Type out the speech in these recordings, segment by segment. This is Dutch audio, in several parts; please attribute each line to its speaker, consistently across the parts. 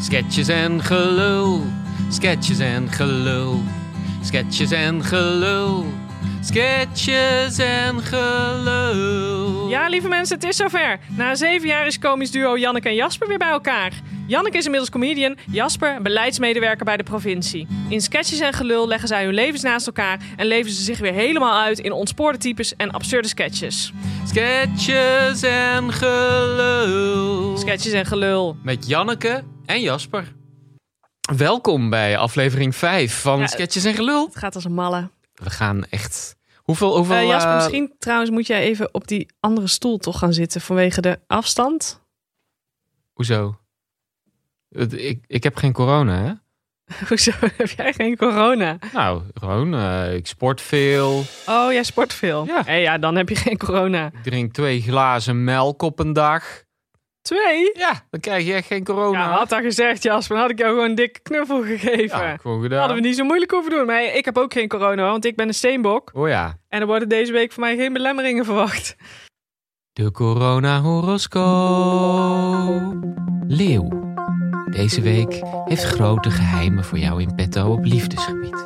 Speaker 1: Sketches en gelul, sketches en gelul, sketches en gelul, sketches en gelul.
Speaker 2: Ja, lieve mensen, het is zover. Na zeven jaar is komisch duo Janneke en Jasper weer bij elkaar. Janneke is inmiddels comedian, Jasper beleidsmedewerker bij de provincie. In sketches en gelul leggen zij hun levens naast elkaar en leven ze zich weer helemaal uit in ontspoorde types en absurde sketches.
Speaker 1: Sketches en gelul.
Speaker 2: Sketches en gelul.
Speaker 1: Met Janneke en Jasper. Welkom bij aflevering 5 van
Speaker 2: Ja,
Speaker 1: Sketches en gelul.
Speaker 2: Het gaat als een malle.
Speaker 1: We gaan echt... Hoeveel, hoeveel...
Speaker 2: Eh, Jasper,
Speaker 1: eh,
Speaker 2: misschien trouwens moet jij even op die andere stoel toch gaan zitten vanwege de afstand.
Speaker 1: Hoezo? Het- Ik, ik heb geen corona, hè?
Speaker 2: Hoezo heb jij geen corona?
Speaker 1: Nou, gewoon, eh, ik sport veel.
Speaker 2: Oh, jij sport veel.
Speaker 1: Ja.
Speaker 2: Eh, ja, dan heb je geen corona.
Speaker 1: Ik drink twee glazen melk op een dag.
Speaker 2: Twee?
Speaker 1: Ja, dan krijg je echt geen corona.
Speaker 2: Ja, had dat gezegd, Jasper, dan had ik jou gewoon een dikke knuffel gegeven.
Speaker 1: Ja, gewoon
Speaker 2: Dat
Speaker 1: gedaan.
Speaker 2: hadden we niet zo moeilijk hoeven doen. Maar ik heb ook geen corona, hoor, want ik ben een steenbok.
Speaker 1: Oh ja.
Speaker 2: En er worden deze week van mij geen belemmeringen verwacht.
Speaker 1: De corona-horoscoop. Leeuw. Deze week heeft grote geheimen voor jou in petto op liefdesgebied.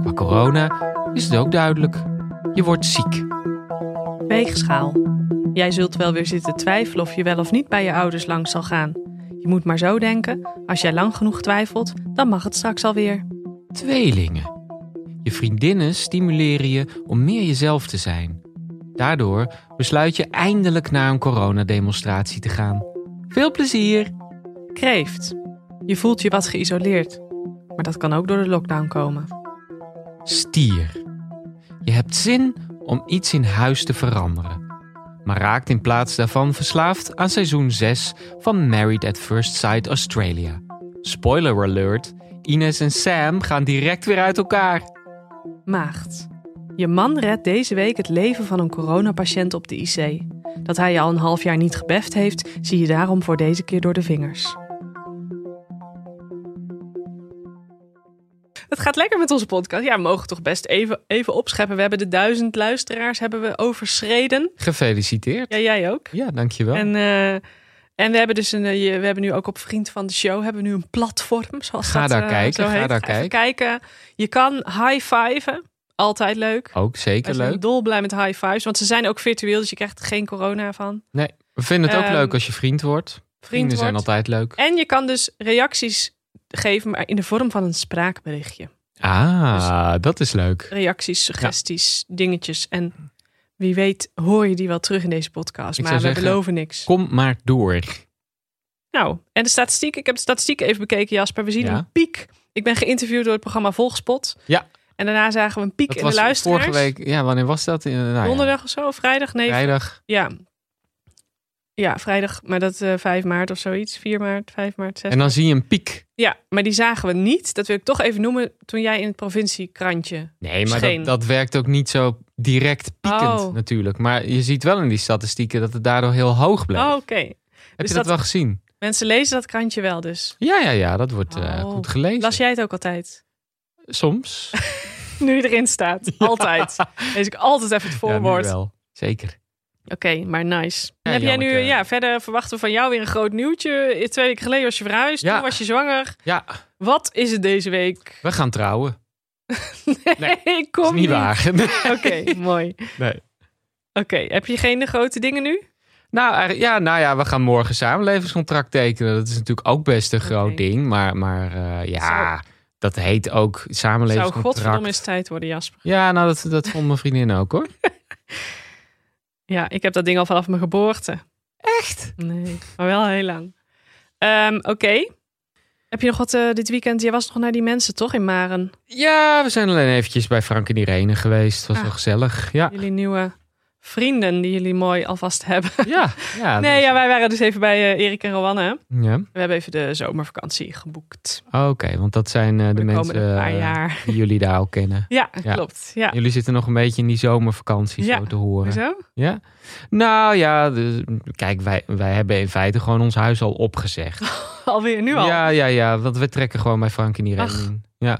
Speaker 1: Qua corona is het ook duidelijk. Je wordt ziek.
Speaker 2: Weegschaal. Jij zult wel weer zitten twijfelen of je wel of niet bij je ouders langs zal gaan. Je moet maar zo denken, als jij lang genoeg twijfelt, dan mag het straks alweer.
Speaker 1: Tweelingen. Je vriendinnen stimuleren je om meer jezelf te zijn. Daardoor besluit je eindelijk naar een coronademonstratie te gaan. Veel plezier!
Speaker 2: Kreeft. Je voelt je wat geïsoleerd. Maar dat kan ook door de lockdown komen.
Speaker 1: Stier. Je hebt zin om iets in huis te veranderen. Maar raakt in plaats daarvan verslaafd aan seizoen 6 van Married at First Sight Australia. Spoiler alert: Ines en Sam gaan direct weer uit elkaar.
Speaker 2: Maagd. Je man redt deze week het leven van een coronapatiënt op de IC. Dat hij je al een half jaar niet gebeft heeft, zie je daarom voor deze keer door de vingers. Het gaat lekker met onze podcast. Ja, we mogen toch best even, even opscheppen. We hebben de duizend luisteraars hebben we overschreden.
Speaker 1: Gefeliciteerd.
Speaker 2: Ja, jij ook.
Speaker 1: Ja, dankjewel.
Speaker 2: En, eh, en we hebben dus een, eh, je- we hebben nu ook op Vriend van de Show hebben we nu een platform. Zoals
Speaker 1: Ga
Speaker 2: dat,
Speaker 1: daar
Speaker 2: eh,
Speaker 1: kijken,
Speaker 2: zo
Speaker 1: ga
Speaker 2: heet.
Speaker 1: daar
Speaker 2: even kijken. Je kan high-fiven. Altijd leuk.
Speaker 1: Ook
Speaker 2: We
Speaker 1: zeker
Speaker 2: zijn
Speaker 1: leuk.
Speaker 2: dolblij met high-fives. Want ze zijn ook virtueel, dus je krijgt er geen corona van.
Speaker 1: We vinden het ook
Speaker 2: Ehm,
Speaker 1: leuk als je vriend wordt. Vrienden
Speaker 2: Vriend
Speaker 1: zijn
Speaker 2: wordt.
Speaker 1: altijd leuk.
Speaker 2: En je kan dus reacties geven, maar in de vorm van een spraakberichtje.
Speaker 1: Ah, dat is leuk.
Speaker 2: Reacties, suggesties, dingetjes. En wie weet hoor je die wel terug in deze podcast.
Speaker 1: Ik
Speaker 2: maar we
Speaker 1: zou zeggen,
Speaker 2: beloven niks.
Speaker 1: Kom maar door.
Speaker 2: Nou, en de statistiek. Ik heb de statistiek even bekeken, Jasper. We zien
Speaker 1: Ja.
Speaker 2: een piek. Ik ben geïnterviewd door het programma Volgspot.
Speaker 1: Ja.
Speaker 2: En daarna zagen we een piek
Speaker 1: Dat
Speaker 2: in de
Speaker 1: was
Speaker 2: luisteraars.
Speaker 1: vorige week. Ja, wanneer was dat? Eh, nou ja,
Speaker 2: Donderdag of zo, vrijdag? Nee,
Speaker 1: Vrijdag.
Speaker 2: ja. Ja, vrijdag, maar dat eh 5 maart of zoiets. 4 maart, 5 maart, 6
Speaker 1: En dan zie je een piek.
Speaker 2: Ja, maar die zagen we niet. Dat wil ik toch even noemen toen jij in het provinciekrantje.
Speaker 1: Nee, maar
Speaker 2: Scheen.
Speaker 1: dat, dat werkt ook niet zo direct piekend
Speaker 2: Oh.
Speaker 1: natuurlijk. Maar je ziet wel in die statistieken dat het daardoor heel hoog blijft.
Speaker 2: Oh, oké.
Speaker 1: Heb
Speaker 2: dus
Speaker 1: je dat,
Speaker 2: dat-
Speaker 1: wel gezien?
Speaker 2: Mensen lezen dat krantje wel dus.
Speaker 1: Ja, ja, ja, dat wordt eh,
Speaker 2: Oh.
Speaker 1: goed gelezen.
Speaker 2: Las jij het ook altijd?
Speaker 1: Soms.
Speaker 2: Nu je erin staat. Altijd. Lees ik altijd even het
Speaker 1: Ja, nu
Speaker 2: voorwoord. oké,
Speaker 1: wel. Zeker.
Speaker 2: maar nice.
Speaker 1: Ja,
Speaker 2: en heb jij nu,
Speaker 1: Janneke.
Speaker 2: ja, verder verwachten we van jou weer een groot nieuwtje. Twee weken geleden was je verhuisd,
Speaker 1: Ja.
Speaker 2: toen was je zwanger.
Speaker 1: Ja,
Speaker 2: Wat is het deze week?
Speaker 1: we gaan trouwen. Nee,
Speaker 2: ik kom
Speaker 1: Dat is niet waar. Nee.
Speaker 2: Oké, mooi. Oké,
Speaker 1: Nee.
Speaker 2: heb je geen grote dingen nu?
Speaker 1: Nou, er- ja, nou ja, we gaan morgen samenlevingscontract tekenen. Dat is natuurlijk ook best een groot
Speaker 2: Oké.
Speaker 1: ding. Maar, maar eh, ja, dat heet ook
Speaker 2: Zou
Speaker 1: samenlevingscontract.
Speaker 2: godverdomme eens tijd worden, Jasper.
Speaker 1: Ja, nou, dat, dat vond mijn vriendin ook hoor.
Speaker 2: Ja, ik heb dat ding al vanaf mijn geboorte.
Speaker 1: Echt?
Speaker 2: Nee, maar wel heel lang. Ehm, Oké. Heb je nog wat eh, dit weekend? Je was nog naar die mensen, toch, in Maren?
Speaker 1: Ja, we zijn alleen eventjes bij Frank en Irene geweest. Het was
Speaker 2: Ah.
Speaker 1: wel gezellig. Ja,
Speaker 2: Jullie nieuwe vrienden die jullie mooi alvast hebben.
Speaker 1: ja, ja.
Speaker 2: Nee, ja, wij waren dus even bij eh, Erik en Rowanne.
Speaker 1: ja.
Speaker 2: We hebben even de zomervakantie geboekt.
Speaker 1: Oké, want dat zijn eh, de,
Speaker 2: Voor de
Speaker 1: mensen
Speaker 2: komende paar
Speaker 1: eh,
Speaker 2: jaar.
Speaker 1: die jullie daar al kennen.
Speaker 2: Ja,
Speaker 1: ja. eh.
Speaker 2: klopt. Ja.
Speaker 1: Jullie zitten nog een beetje in die zomervakantie
Speaker 2: Ja, dus, eh-
Speaker 1: zo te horen.
Speaker 2: Hoezo?
Speaker 1: Ja? Nou ja, dus, kijk, wij, wij hebben in feite gewoon ons huis al opgezegd.
Speaker 2: Alweer nu al.
Speaker 1: Ja, ja, ja, want we trekken gewoon bij Frank en Irene
Speaker 2: Ach.
Speaker 1: in. Ja.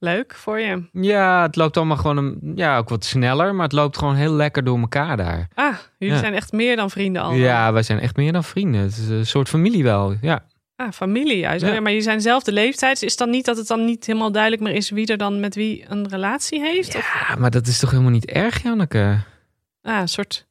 Speaker 2: Leuk voor je.
Speaker 1: ja, het loopt allemaal gewoon een, ja, ook wat sneller, maar het loopt gewoon heel lekker door elkaar daar.
Speaker 2: Ah, jullie
Speaker 1: Ja.
Speaker 2: zijn echt meer dan vrienden al.
Speaker 1: Ja, wij zijn echt meer dan vrienden. Het is een soort familie wel, ja.
Speaker 2: Ah, familie juist.
Speaker 1: Ja.
Speaker 2: Ja, Maar die zijn dezelfde leeftijd. Is het dan niet dat het dan niet helemaal duidelijk meer is wie er dan met wie een relatie heeft? Of
Speaker 1: Ja, maar dat is toch helemaal niet erg, Janneke?
Speaker 2: ah, een soort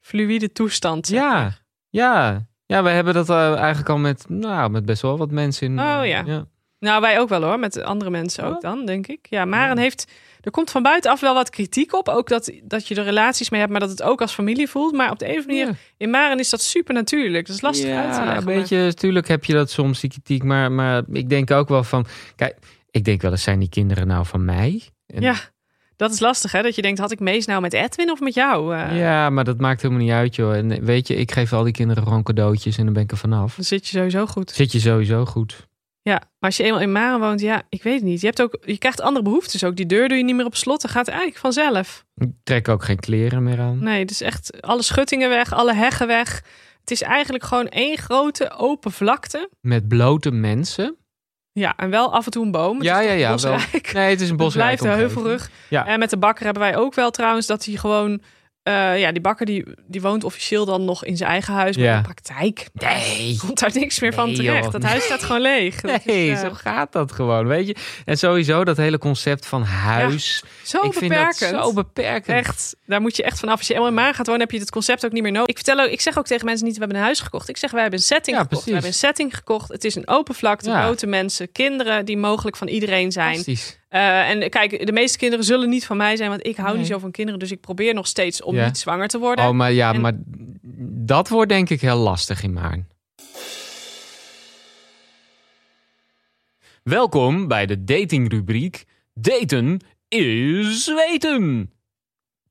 Speaker 2: fluïde toestand. zeg
Speaker 1: Ja,
Speaker 2: maar.
Speaker 1: ja. Ja, we hebben dat eh, eigenlijk al met, nou, met best wel wat mensen in.
Speaker 2: Oh,
Speaker 1: eh,
Speaker 2: ja.
Speaker 1: ja.
Speaker 2: Nou, wij ook wel hoor. Met andere mensen ook
Speaker 1: Oh.
Speaker 2: dan, denk ik. Ja, Maren heeft... Er komt van buitenaf wel wat kritiek op. Ook dat, dat je er relaties mee hebt, maar dat het ook als familie voelt. Maar op de een of andere manier... In Maren is dat super natuurlijk. Dat is lastig
Speaker 1: ja,
Speaker 2: uit te leggen.
Speaker 1: Een
Speaker 2: maar-
Speaker 1: beetje, natuurlijk heb je dat soms, die kritiek. Maar, maar ik denk ook wel van. Kijk, ik denk wel eens: zijn die kinderen nou van mij? En-
Speaker 2: Ja, dat is lastig hè. Dat je denkt, had ik Mees nou met Edwin of met jou? Eh,
Speaker 1: ja, maar dat maakt helemaal niet uit, joh. En eh, weet je, ik geef al die kinderen gewoon cadeautjes en dan ben ik er vanaf.
Speaker 2: Dan zit je sowieso goed.
Speaker 1: Zit je sowieso goed?
Speaker 2: Ja, maar als je eenmaal in Maren woont, ja, ik weet het niet. Je, hebt ook, je krijgt andere behoeftes ook. Die deur doe je niet meer op slot. Dat gaat eigenlijk vanzelf.
Speaker 1: Ik trek ook geen kleren meer aan.
Speaker 2: Nee, dus echt alle schuttingen weg, alle heggen weg. Het is eigenlijk gewoon één grote open vlakte.
Speaker 1: Met blote mensen.
Speaker 2: Ja, en wel af en toe een boom. Het
Speaker 1: Ja,
Speaker 2: is
Speaker 1: ja,
Speaker 2: toch
Speaker 1: ja,
Speaker 2: bosrijk.
Speaker 1: Nee, het is een
Speaker 2: Het
Speaker 1: bosrijk
Speaker 2: blijft de
Speaker 1: omgeving.
Speaker 2: heuvelrug.
Speaker 1: Ja.
Speaker 2: En met de bakker hebben wij ook wel trouwens dat hij gewoon... eh, ja, die bakker die, die woont officieel dan nog in zijn eigen huis. Maar
Speaker 1: Ja.
Speaker 2: in de praktijk
Speaker 1: Nee.
Speaker 2: komt daar niks meer van
Speaker 1: Nee,
Speaker 2: terecht.
Speaker 1: joh.
Speaker 2: Dat huis staat gewoon leeg. Dat is,
Speaker 1: Nee,
Speaker 2: eh,
Speaker 1: zo gaat dat gewoon, weet je. En sowieso dat hele concept van huis.
Speaker 2: zo
Speaker 1: ik vind
Speaker 2: beperkend.
Speaker 1: dat zo beperkend.
Speaker 2: Echt, daar moet je echt vanaf. Als je helemaal in Maan gaat wonen, heb je het concept ook niet meer nodig. Ik, vertel ook, ik zeg ook tegen mensen niet, we hebben een huis gekocht. Ik zeg, wij hebben een setting
Speaker 1: Ja,
Speaker 2: gekocht. We
Speaker 1: precies.
Speaker 2: hebben een setting gekocht. Het is een open vlakte,
Speaker 1: Ja.
Speaker 2: grote mensen, kinderen die mogelijk van iedereen zijn.
Speaker 1: Fantastisch.
Speaker 2: Eh, en kijk, de meeste kinderen zullen niet van mij zijn, want ik hou
Speaker 1: Nee.
Speaker 2: niet zo van kinderen. Dus ik probeer nog steeds om
Speaker 1: Ja.
Speaker 2: niet zwanger te worden.
Speaker 1: Oh, maar ja,
Speaker 2: En-
Speaker 1: maar dat wordt denk ik heel lastig in Maarn. Welkom bij de datingrubriek Daten is weten.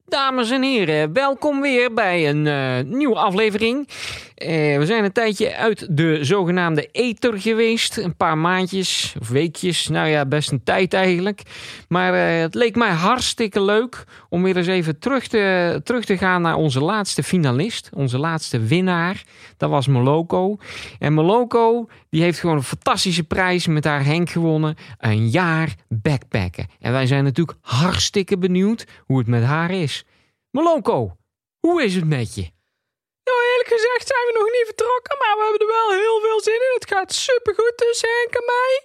Speaker 1: Dames en heren, welkom weer bij een eh, nieuwe aflevering. Eh, we zijn een tijdje uit de zogenaamde ether geweest. Een paar maandjes of weekjes. Nou ja, best een tijd eigenlijk. Maar eh, het leek mij hartstikke leuk om weer eens even terug te, terug te gaan naar onze laatste finalist. Onze laatste winnaar. Dat was Moloko. En Moloko die heeft gewoon een fantastische prijs met haar Henk gewonnen. Een jaar backpacken. En wij zijn natuurlijk hartstikke benieuwd hoe het met haar is. Moloko, hoe is het met je?
Speaker 2: Nou, eerlijk gezegd zijn we nog niet vertrokken, maar we hebben er wel heel veel zin in. Het gaat supergoed tussen Henk en mij.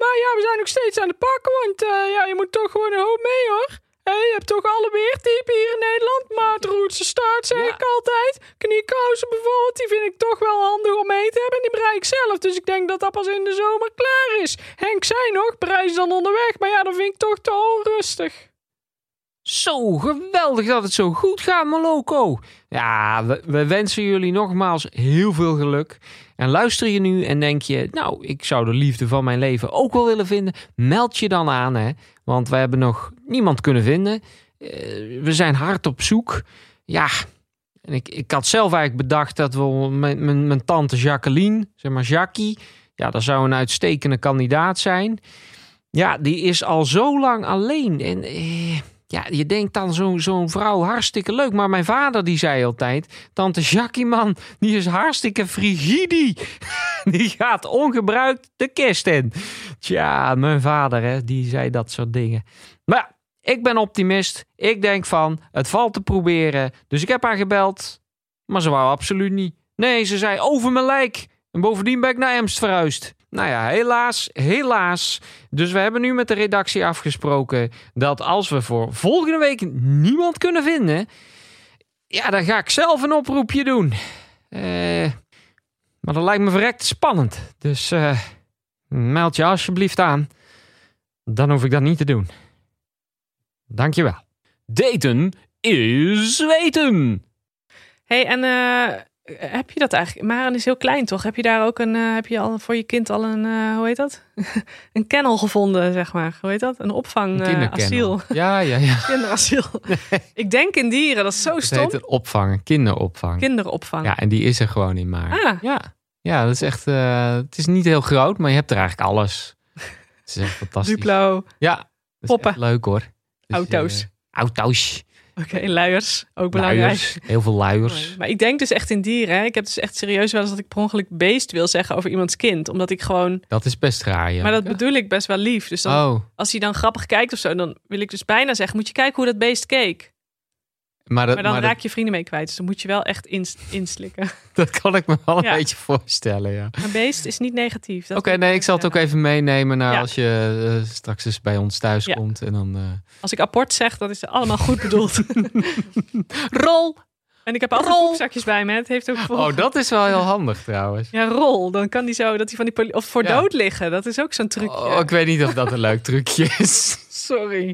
Speaker 2: Maar ja, we zijn nog steeds aan het pakken, want eh, ja, je moet toch gewoon een hoop mee, hoor. Hé, je hebt toch alle weertypen hier in Nederland. Maatroetse staart, zeg
Speaker 1: Ja.
Speaker 2: ik altijd. Kniekousen bijvoorbeeld, die vind ik toch wel handig om mee te hebben. En die bereik ik zelf, dus ik denk dat dat pas in de zomer klaar is. Henk zei nog, prijs dan onderweg. Maar ja, dat vind ik toch te onrustig.
Speaker 1: Zo geweldig dat het zo goed gaat, Moloko. Ja, we, we wensen jullie nogmaals heel veel geluk. En luister je nu en denk je, nou, ik zou de liefde van mijn leven ook wel willen vinden. Meld je dan aan, hè? Want we hebben nog niemand kunnen vinden. Eh, we zijn hard op zoek. Ja, en ik, ik had zelf eigenlijk bedacht dat we mijn, mijn, mijn tante Jacqueline, zeg maar Jackie, ja, dat zou een uitstekende kandidaat zijn. Ja, die is al zo lang alleen. En. eh, ja, je denkt dan zo- zo'n vrouw hartstikke leuk. Maar mijn vader die zei altijd: Tante Jackie, man, die is hartstikke frigidi. Die gaat ongebruikt de kist in. Tja, mijn vader, hè, die zei dat soort dingen. Maar ja, ik ben optimist. Ik denk van: het valt te proberen. Dus ik heb haar gebeld. Maar ze wou absoluut niet. Nee, ze zei: over mijn lijk. En bovendien ben ik naar Emst verhuisd. Nou ja, helaas, helaas. Dus we hebben nu met de redactie afgesproken dat als we voor volgende week niemand kunnen vinden, ja, dan ga ik zelf een oproepje doen. Eh, maar dat lijkt me verrekt spannend. Dus eh, meld je alsjeblieft aan. Dan hoef ik dat niet te doen. Dankjewel. Daten is weten.
Speaker 2: Hé, hey, en eh, heb je dat eigenlijk? Maren is heel klein, toch? Heb je daar ook een, eh, heb je al voor je kind al een, eh, hoe heet dat? een kennel gevonden, zeg maar. Hoe heet dat? Een opvang, eh, asiel.
Speaker 1: Ja, ja, ja.
Speaker 2: Kinderasiel. Ik denk in dieren, dat is zo
Speaker 1: Het
Speaker 2: stom.
Speaker 1: heet een opvang, een kinderopvang.
Speaker 2: Kinderopvang.
Speaker 1: Ja, en die is er gewoon in maar.
Speaker 2: Ah.
Speaker 1: Ja. ja, dat is echt. eh, het is niet heel groot, maar je hebt er eigenlijk alles. Het is echt fantastisch.
Speaker 2: Duplo. Oké,
Speaker 1: Ja, dat is
Speaker 2: Poppen.
Speaker 1: echt leuk hoor. Dus,
Speaker 2: Auto's.
Speaker 1: eh, auto's.
Speaker 2: luiers. Ook belangrijk.
Speaker 1: Luiers. Heel veel luiers.
Speaker 2: Maar ik denk dus echt in dieren. Hè. Ik heb dus echt serieus wel eens dat ik per ongeluk beest wil zeggen over iemands kind. Omdat ik gewoon...
Speaker 1: Dat is best raar. Ja.
Speaker 2: Maar dat bedoel ik best wel lief. Dus dan,
Speaker 1: Oh,
Speaker 2: als hij dan grappig kijkt of zo, dan wil ik dus bijna zeggen... Moet je kijken hoe dat beest keek.
Speaker 1: Maar, dat,
Speaker 2: Maar dan
Speaker 1: maar dat-
Speaker 2: raak je vrienden mee kwijt. Dus dan moet je wel echt ins- inslikken.
Speaker 1: dat, kan ik me wel een
Speaker 2: Ja.
Speaker 1: beetje voorstellen, ja.
Speaker 2: Een beest is niet negatief. dat
Speaker 1: Oké,
Speaker 2: moet
Speaker 1: nee, ik zal het ook
Speaker 2: zeggen.
Speaker 1: even meenemen naar
Speaker 2: Ja.
Speaker 1: als je eh, straks eens bij ons thuis
Speaker 2: Ja.
Speaker 1: komt. En dan... eh,
Speaker 2: Als ik apport zeg, dan is het allemaal goed bedoeld.
Speaker 1: Rol!
Speaker 2: en ik heb altijd
Speaker 1: Rol.
Speaker 2: poepzakjes bij me. hè. Het heeft ook voor...
Speaker 1: Oh, dat is wel heel handig trouwens.
Speaker 2: Ja, rol. Dan kan die zo, dat hij van die poli- Of voor
Speaker 1: Ja.
Speaker 2: dood liggen. Dat is ook zo'n trucje.
Speaker 1: Oh, ik weet niet of dat een leuk trucje is.
Speaker 2: Sorry,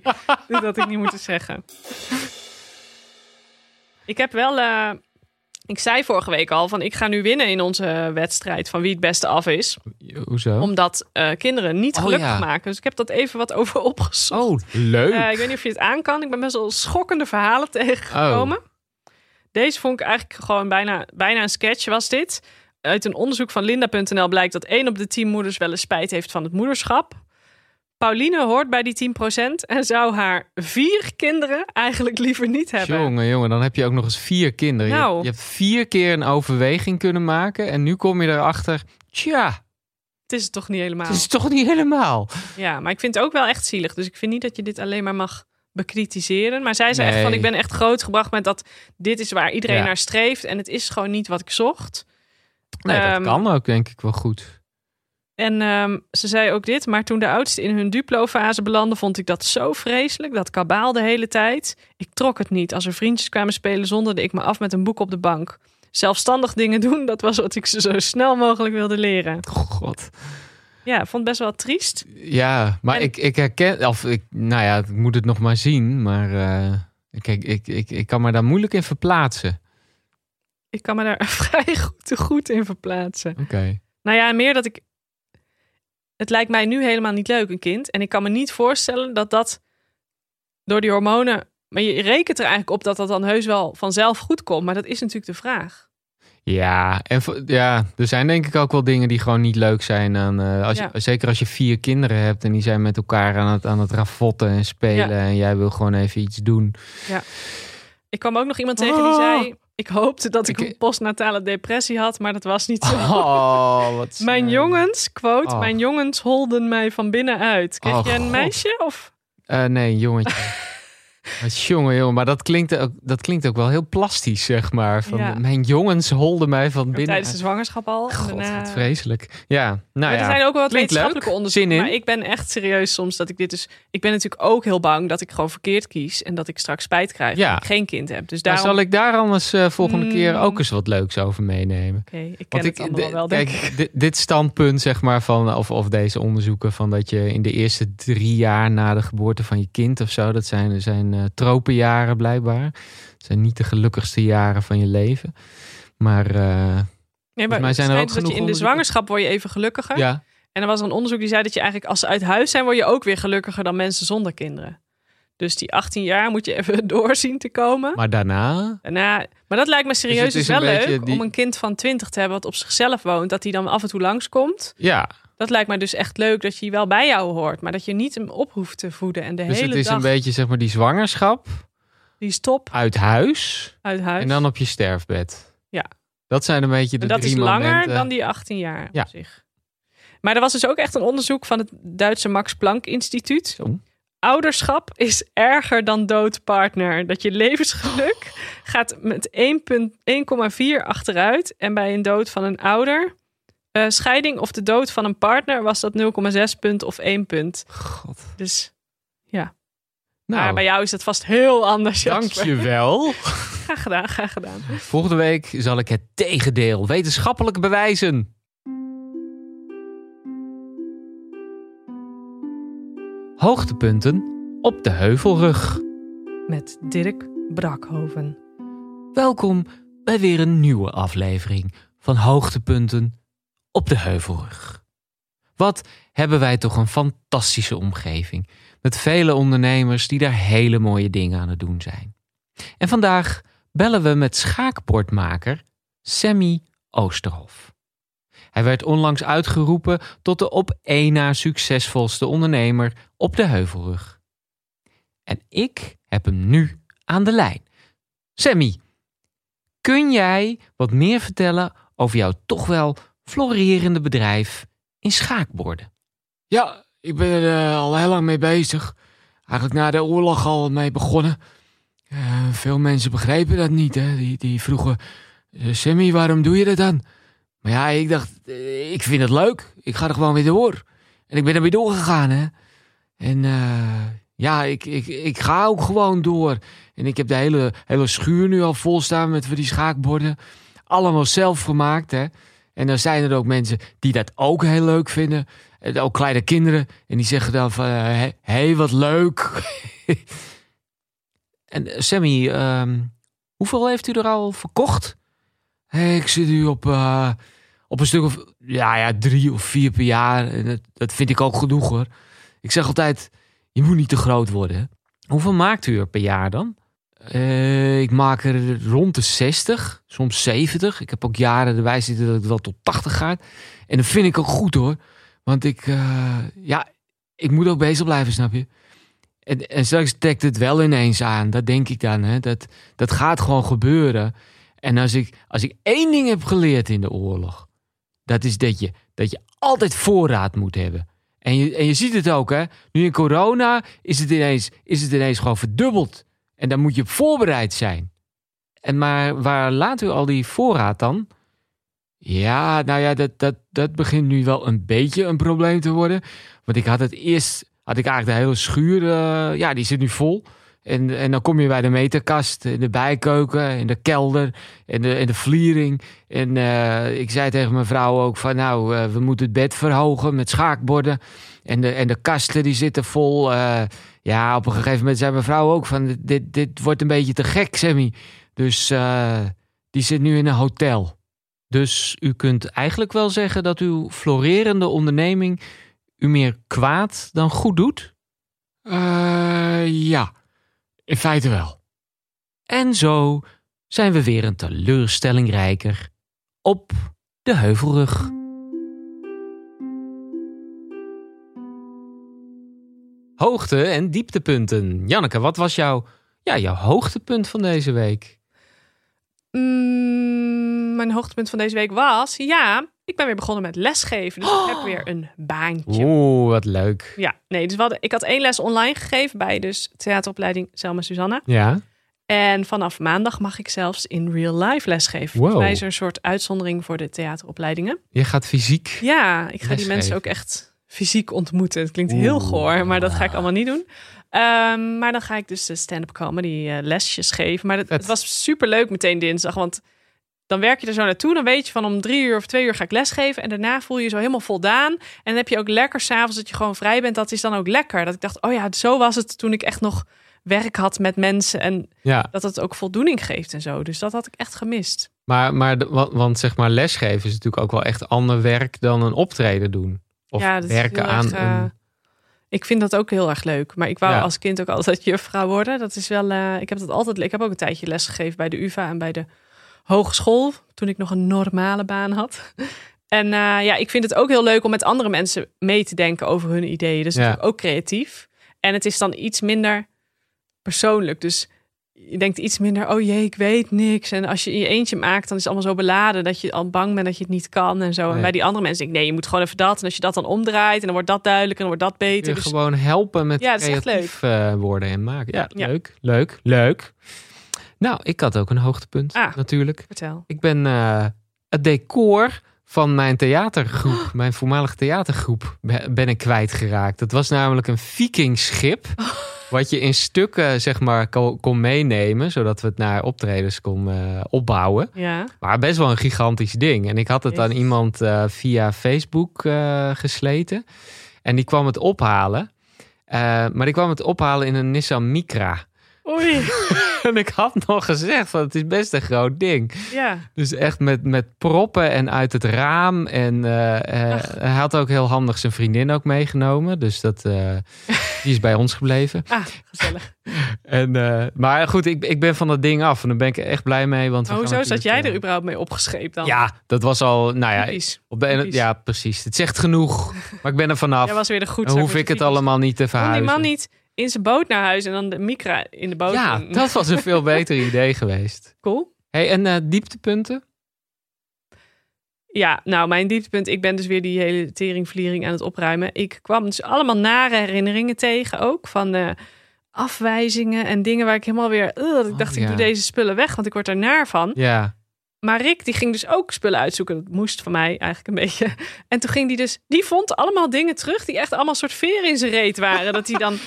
Speaker 2: dit had ik niet moeten zeggen. Ik heb wel. eh, ik zei vorige week al van ik ga nu winnen in onze wedstrijd van wie het beste af is.
Speaker 1: Hoezo?
Speaker 2: Omdat eh, kinderen niet
Speaker 1: Oh,
Speaker 2: gelukkig
Speaker 1: ja.
Speaker 2: maken. Dus ik heb dat even wat over opgezocht.
Speaker 1: Oh, leuk.
Speaker 2: Eh, ik weet niet of je het aan kan. Ik ben best wel schokkende verhalen tegengekomen.
Speaker 1: Oh.
Speaker 2: Deze vond ik eigenlijk gewoon bijna, bijna een sketch was dit. Uit een onderzoek van Linda.nl blijkt dat 1 op de 10 moeders wel eens spijt heeft van het moederschap. Pauline hoort bij die 10% en zou haar vier kinderen eigenlijk liever niet hebben.
Speaker 1: jongen, jongen, dan heb je ook nog eens vier kinderen. Je-
Speaker 2: Nou.
Speaker 1: Je, hebt vier keer een overweging kunnen maken. En nu kom je erachter. Tja,
Speaker 2: Het is het toch niet helemaal.
Speaker 1: het is toch niet helemaal.
Speaker 2: Ja, maar ik vind het ook wel echt zielig. Dus ik vind niet dat je dit alleen maar mag bekritiseren. Maar zij zei echt van,
Speaker 1: Nee.
Speaker 2: ik ben echt grootgebracht met dat dit is waar iedereen
Speaker 1: Ja.
Speaker 2: naar streeft. En het is gewoon niet wat ik zocht.
Speaker 1: Nee,
Speaker 2: Ehm,
Speaker 1: dat kan ook, denk ik wel goed.
Speaker 2: En ehm, ze zei ook dit, maar toen de oudste in hun duplo-fase belandde, vond ik dat zo vreselijk. Dat kabaal de hele tijd. Ik trok het niet. Als er vriendjes kwamen spelen, zonderde ik me af met een boek op de bank. Zelfstandig dingen doen, dat was wat ik ze zo snel mogelijk wilde leren.
Speaker 1: God.
Speaker 2: Ja, ik vond het best wel triest.
Speaker 1: Ja, maar
Speaker 2: En-
Speaker 1: ik, ik herken. Of ik, nou ja, ik moet het nog maar zien. Maar eh, kijk, ik, ik, ik kan me daar moeilijk in verplaatsen.
Speaker 2: Ik kan me daar vrij goed, goed in verplaatsen.
Speaker 1: Oké.
Speaker 2: Nou ja, meer dat ik. Het lijkt mij nu helemaal niet leuk, een kind. En ik kan me niet voorstellen dat dat door die hormonen. Maar je rekent er eigenlijk op dat dat dan heus wel vanzelf goed komt. Maar dat is natuurlijk de vraag.
Speaker 1: Ja, en vo- ja, er zijn denk ik ook wel dingen die gewoon niet leuk zijn. Aan, eh, als je-
Speaker 2: Ja.
Speaker 1: zeker als je vier kinderen hebt en die zijn met elkaar aan het, aan het ravotten en spelen. En jij wil gewoon even iets doen.
Speaker 2: Ik kwam ook nog iemand tegen die
Speaker 1: Ah.
Speaker 2: zei. Ik hoopte dat ik
Speaker 1: Ik-
Speaker 2: een postnatale depressie had, maar dat was niet zo.
Speaker 1: Oh, wat
Speaker 2: Mijn
Speaker 1: sneu.
Speaker 2: jongens, quote,
Speaker 1: Oh.
Speaker 2: mijn jongens holden mij van binnenuit. Kreeg
Speaker 1: Oh,
Speaker 2: je een
Speaker 1: God.
Speaker 2: meisje of?
Speaker 1: Eh, nee, jongetje. Wat jongen, jongen. Maar dat klinkt, ook, dat klinkt ook wel heel plastisch, zeg maar. Van,
Speaker 2: Ja.
Speaker 1: Mijn jongens holden mij van binnen.
Speaker 2: Tijdens de zwangerschap al. en
Speaker 1: God,
Speaker 2: daarna-
Speaker 1: wat vreselijk. Ja, nou
Speaker 2: Maar
Speaker 1: ja.
Speaker 2: er zijn ook wel wat
Speaker 1: Klinkt leuk.
Speaker 2: wetenschappelijke onderzoeken.
Speaker 1: Zin in.
Speaker 2: Maar ik ben echt serieus soms dat ik dit dus... Ik ben natuurlijk ook heel bang dat ik gewoon verkeerd kies... en dat ik straks spijt krijg
Speaker 1: Ja.
Speaker 2: dat ik geen kind heb. Dus
Speaker 1: Maar
Speaker 2: daarom...
Speaker 1: Nou, zal ik daar anders eh, volgende keer
Speaker 2: Mm.
Speaker 1: ook eens wat leuks over meenemen?
Speaker 2: Oké, ik ken het allemaal
Speaker 1: de-
Speaker 2: wel, denk
Speaker 1: kijk,
Speaker 2: ik.
Speaker 1: di- dit standpunt, zeg maar, van, of, of deze onderzoeken, van dat je in de eerste drie jaar na de geboorte van je kind of zo, dat zijn, zijn eh, tropenjaren blijkbaar. Dat zijn niet de gelukkigste jaren van je leven. Maar eh,
Speaker 2: Nee,
Speaker 1: volgens mij
Speaker 2: het
Speaker 1: zijn er ook
Speaker 2: schijnt dat je
Speaker 1: genoeg
Speaker 2: in de
Speaker 1: onderzoeken.
Speaker 2: zwangerschap word je even gelukkiger.
Speaker 1: ja,
Speaker 2: En er was een onderzoek die zei dat je eigenlijk... als ze uit huis zijn, word je ook weer gelukkiger dan mensen zonder kinderen. Dus die 18 jaar moet je even doorzien te komen.
Speaker 1: maar daarna.
Speaker 2: Daarna, maar dat lijkt me serieus
Speaker 1: het
Speaker 2: dus
Speaker 1: is een
Speaker 2: wel leuk...
Speaker 1: beetje die-
Speaker 2: om een kind van 20 te hebben wat op zichzelf woont... dat die dan af en toe langskomt...
Speaker 1: Ja,
Speaker 2: Dat lijkt me dus echt leuk dat je die wel bij jou hoort, maar dat je niet hem op hoeft te voeden en de
Speaker 1: dus
Speaker 2: hele
Speaker 1: het is
Speaker 2: dag
Speaker 1: een beetje, zeg maar, die zwangerschap
Speaker 2: die stop
Speaker 1: uit huis,
Speaker 2: uit huis.
Speaker 1: en dan op je sterfbed.
Speaker 2: Ja.
Speaker 1: Dat zijn een beetje de
Speaker 2: En dat
Speaker 1: drie
Speaker 2: is langer
Speaker 1: momenten.
Speaker 2: dan die 18 jaar
Speaker 1: Ja.
Speaker 2: op zich. Maar er was dus ook echt een onderzoek van het Duitse Max Planck Instituut.
Speaker 1: Zo.
Speaker 2: Ouderschap is erger dan doodpartner. Dat je levensgeluk
Speaker 1: Oh.
Speaker 2: gaat met 1,4 achteruit. En bij een dood van een ouder, eh, scheiding of de dood van een partner was dat 0,6 punt of 1 punt.
Speaker 1: God.
Speaker 2: Dus Maar
Speaker 1: Nou,
Speaker 2: bij jou is dat vast heel anders. Jasper.
Speaker 1: dankjewel.
Speaker 2: Graag gedaan, graag gedaan.
Speaker 1: Volgende week zal ik het tegendeel wetenschappelijk bewijzen. Hoogtepunten op de heuvelrug.
Speaker 2: Met Dirk Brakhoven.
Speaker 1: Welkom bij weer een nieuwe aflevering van Hoogtepunten op de Heuvelrug. Wat hebben wij toch een fantastische omgeving met vele ondernemers die daar hele mooie dingen aan het doen zijn. En vandaag bellen we met schaakbordmaker Sammy Oosterhof. Hij werd onlangs uitgeroepen tot de op één na succesvolste ondernemer op de Heuvelrug. En ik heb hem nu aan de lijn. Sammy, Kun jij wat meer vertellen over jouw toch wel florerende bedrijf in schaakborden? Ja, ik ben er eh, al heel lang mee bezig. Eigenlijk na de oorlog al mee begonnen. Eh, veel mensen begrijpen dat niet, hè. Die, die vroegen, eh, Sammy, waarom doe je dat dan? Maar ja, ik dacht, eh, ik vind het leuk. Ik ga er gewoon weer door. En ik ben er weer doorgegaan, hè. En eh, ja, ik, ik, ik ga ook gewoon door. En ik heb de hele, hele schuur nu al vol staan met van die schaakborden. Allemaal zelf gemaakt, hè. En dan zijn er ook mensen die dat ook heel leuk vinden. Eh, Ook kleine kinderen. En die zeggen dan van, eh, hé, hey, wat leuk. en eh, Sammy, ehm, hoeveel heeft u er al verkocht? Hé, ik zit nu op, eh, op een stuk of ja, ja, drie of vier per jaar. En dat, dat vind ik ook genoeg hoor. Ik zeg altijd, je moet niet te groot worden. hè. Hoeveel maakt u er per jaar dan? Eh, ik maak er rond de 60, soms 70. Ik heb ook jaren erbij zitten dat het wel tot 80 gaat. En dat vind ik ook goed hoor. Want ik, eh, ja, ik moet ook bezig blijven, snap je? En, en straks trekt het wel ineens aan. Dat denk ik dan. Hè? Dat, dat gaat gewoon gebeuren. En als ik, als ik één ding heb geleerd in de oorlog, dat is dat je, dat je altijd voorraad moet hebben. En je, en je ziet het ook, hè? Nu in corona is het, ineens, is het ineens gewoon verdubbeld. En dan moet je op voorbereid zijn. En maar waar laat u al die voorraad dan? Ja, nou ja, dat, dat, dat begint nu wel een beetje een probleem te worden. Want ik had het eerst, had ik eigenlijk de hele schuur, eh, ja, die zit nu vol. En, en dan kom je bij de meterkast, in de bijkeuken, in de kelder, in de, in de vliering. En eh, ik zei tegen mijn vrouw ook van, nou, eh, we moeten het bed verhogen met schaakborden. En de, en de kasten die zitten vol. eh, ja, op een gegeven moment zei mijn vrouw ook van, dit, dit wordt een beetje te gek, Sammy. Dus eh, die zit nu in een hotel. Dus u kunt eigenlijk wel zeggen dat uw florerende onderneming u meer kwaad dan goed doet? Eh, ja, in feite wel. En zo zijn we weer een teleurstelling rijker op de heuvelrug. Hoogte en dieptepunten. Janneke, wat was jouw, ja, jouw hoogtepunt van deze week?
Speaker 2: Mm, mijn hoogtepunt van deze week was... Ja, ik ben weer begonnen met lesgeven. Dus ik heb weer een baantje.
Speaker 1: Oeh, wat leuk.
Speaker 2: Ja, nee, dus we hadden- ik had één les online gegeven bij dus theateropleiding Selma Susanna.
Speaker 1: Ja,
Speaker 2: En vanaf maandag mag ik zelfs in real life lesgeven. Volgens
Speaker 1: Wow.
Speaker 2: mij is er een soort uitzondering voor de theateropleidingen.
Speaker 1: je gaat fysiek.
Speaker 2: Ja, ik ga die
Speaker 1: Lesgeven.
Speaker 2: mensen ook echt fysiek ontmoeten. Het klinkt heel
Speaker 1: Oeh.
Speaker 2: goor, maar dat ga ik allemaal niet doen. Ehm, maar dan ga ik dus de stand-up comedy eh, lesjes geven. Maar dat,
Speaker 1: Vet.
Speaker 2: het was super leuk meteen dinsdag, want dan werk je er zo naartoe. Dan weet je van om drie uur of twee uur ga ik lesgeven. En daarna voel je je zo helemaal voldaan. En dan heb je ook lekker s'avonds dat je gewoon vrij bent. Dat is dan ook lekker. Dat ik dacht, oh ja, zo was het toen ik echt nog werk had met mensen. En
Speaker 1: Ja,
Speaker 2: dat het ook voldoening geeft en zo. Dus dat had ik echt gemist.
Speaker 1: maar, maar de- wa- want zeg maar lesgeven is natuurlijk ook wel echt ander werk dan een optreden doen. Of
Speaker 2: Ja, dat is
Speaker 1: werken
Speaker 2: heel
Speaker 1: aan
Speaker 2: erg, eh,
Speaker 1: een...
Speaker 2: Ik vind dat ook heel erg leuk. Maar ik wou
Speaker 1: Ja.
Speaker 2: als kind ook altijd juffrouw worden. Dat is wel. eh, ik heb dat altijd. Ik heb ook een tijdje lesgegeven bij de UVA en bij de hogeschool. Toen ik nog een normale baan had. En eh, ja, ik vind het ook heel leuk om met andere mensen mee te denken over hun ideeën. Dus
Speaker 1: Ja.
Speaker 2: natuurlijk ook creatief. En het is dan iets minder persoonlijk. Dus je denkt iets minder, oh jee, ik weet niks. En als je in je eentje maakt, dan is het allemaal zo beladen dat je al bang bent dat je het niet kan en zo.
Speaker 1: Nee.
Speaker 2: En bij die andere mensen denk ik, nee, je moet gewoon even dat. En als je dat dan omdraait, en dan wordt dat duidelijk en dan wordt dat beter.
Speaker 1: je
Speaker 2: Dus-
Speaker 1: Gewoon helpen met
Speaker 2: Ja, dat is echt
Speaker 1: creatief eh, worden en maken. Ja,
Speaker 2: Ja.
Speaker 1: leuk, leuk, leuk. Nou, ik had ook een hoogtepunt
Speaker 2: Ah.
Speaker 1: natuurlijk.
Speaker 2: Vertel.
Speaker 1: Ik ben eh, het decor van mijn theatergroep, mijn voormalige theatergroep, be- ben ik kwijtgeraakt. Dat was namelijk een vikingschip, wat je in stukken zeg maar ko- kon meenemen, zodat we het naar optredens kon eh, opbouwen.
Speaker 2: Ja.
Speaker 1: Maar best wel een gigantisch ding. En ik had het aan
Speaker 2: Jezus.
Speaker 1: iemand eh, via Facebook eh, gesleten. En die kwam het ophalen. Eh, maar die kwam het ophalen in een Nissan Micra.
Speaker 2: Oei.
Speaker 1: en ik had nog gezegd, van, het is best een groot ding.
Speaker 2: Ja.
Speaker 1: Dus echt met, met proppen en uit het raam. En eh, eh,
Speaker 2: Ach.
Speaker 1: hij had ook heel handig zijn vriendin ook meegenomen. Dus dat, eh, die is bij ons gebleven.
Speaker 2: Ah, gezellig.
Speaker 1: En, eh, maar goed, ik, ik ben van dat ding af. En daar ben ik echt blij mee. Want we
Speaker 2: Maar
Speaker 1: gaan
Speaker 2: hoezo zat
Speaker 1: natuurlijk,
Speaker 2: jij
Speaker 1: eh,
Speaker 2: er überhaupt mee opgescheept dan?
Speaker 1: Ja, dat was al, nou ja,
Speaker 2: Typisch.
Speaker 1: op de ene,
Speaker 2: Typisch.
Speaker 1: ja, precies. Het zegt genoeg, maar ik ben er vanaf.
Speaker 2: Jij was weer de goed.
Speaker 1: Dan hoef ik het allemaal niet te
Speaker 2: Kon die
Speaker 1: verhuizen.
Speaker 2: man niet in zijn boot naar huis en dan de micra in de boot.
Speaker 1: ja,
Speaker 2: doen?
Speaker 1: dat was een veel beter idee geweest.
Speaker 2: cool.
Speaker 1: Hey, en eh, dieptepunten?
Speaker 2: Ja, nou, mijn dieptepunt. Ik ben dus weer die hele teringvliering aan het opruimen. Ik kwam dus allemaal nare herinneringen tegen ook. Van eh, afwijzingen en dingen waar ik helemaal weer... "Ugh," dat ik
Speaker 1: Oh,
Speaker 2: dacht, ik
Speaker 1: ja.
Speaker 2: doe deze spullen weg, want ik word er naar van.
Speaker 1: Ja.
Speaker 2: Maar Rick, die ging dus ook spullen uitzoeken. Dat moest van mij eigenlijk een beetje. En toen ging die dus... Die vond allemaal dingen terug die echt allemaal soort veren in zijn reet waren. dat hij dan...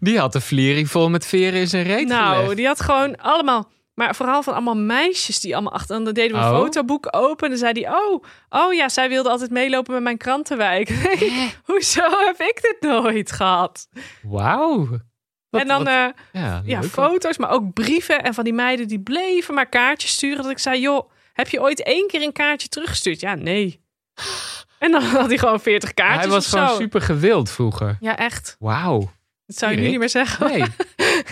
Speaker 1: Die had de vliering vol met veren in zijn reet
Speaker 2: nou,
Speaker 1: gelegd.
Speaker 2: die had gewoon allemaal... Maar vooral van allemaal meisjes die allemaal achter... En dan deden we een
Speaker 1: Oh.
Speaker 2: fotoboek open en dan zei die... Oh, oh ja, zij wilde altijd meelopen met mijn krantenwijk. Hoezo heb ik dit nooit gehad?
Speaker 1: Wauw. Wat-
Speaker 2: en dan
Speaker 1: wat-
Speaker 2: eh,
Speaker 1: ja,
Speaker 2: ja,
Speaker 1: leuk.
Speaker 2: foto's, maar ook brieven. En van die meiden die bleven maar kaartjes sturen. Dat ik zei, joh, heb je ooit één keer een kaartje teruggestuurd? Ja, nee. En dan had hij gewoon 40 kaartjes
Speaker 1: Hij was
Speaker 2: of
Speaker 1: gewoon
Speaker 2: zo.
Speaker 1: super gewild vroeger.
Speaker 2: Ja, echt.
Speaker 1: Wauw.
Speaker 2: Dat zou je nu
Speaker 1: Erik?
Speaker 2: niet meer zeggen.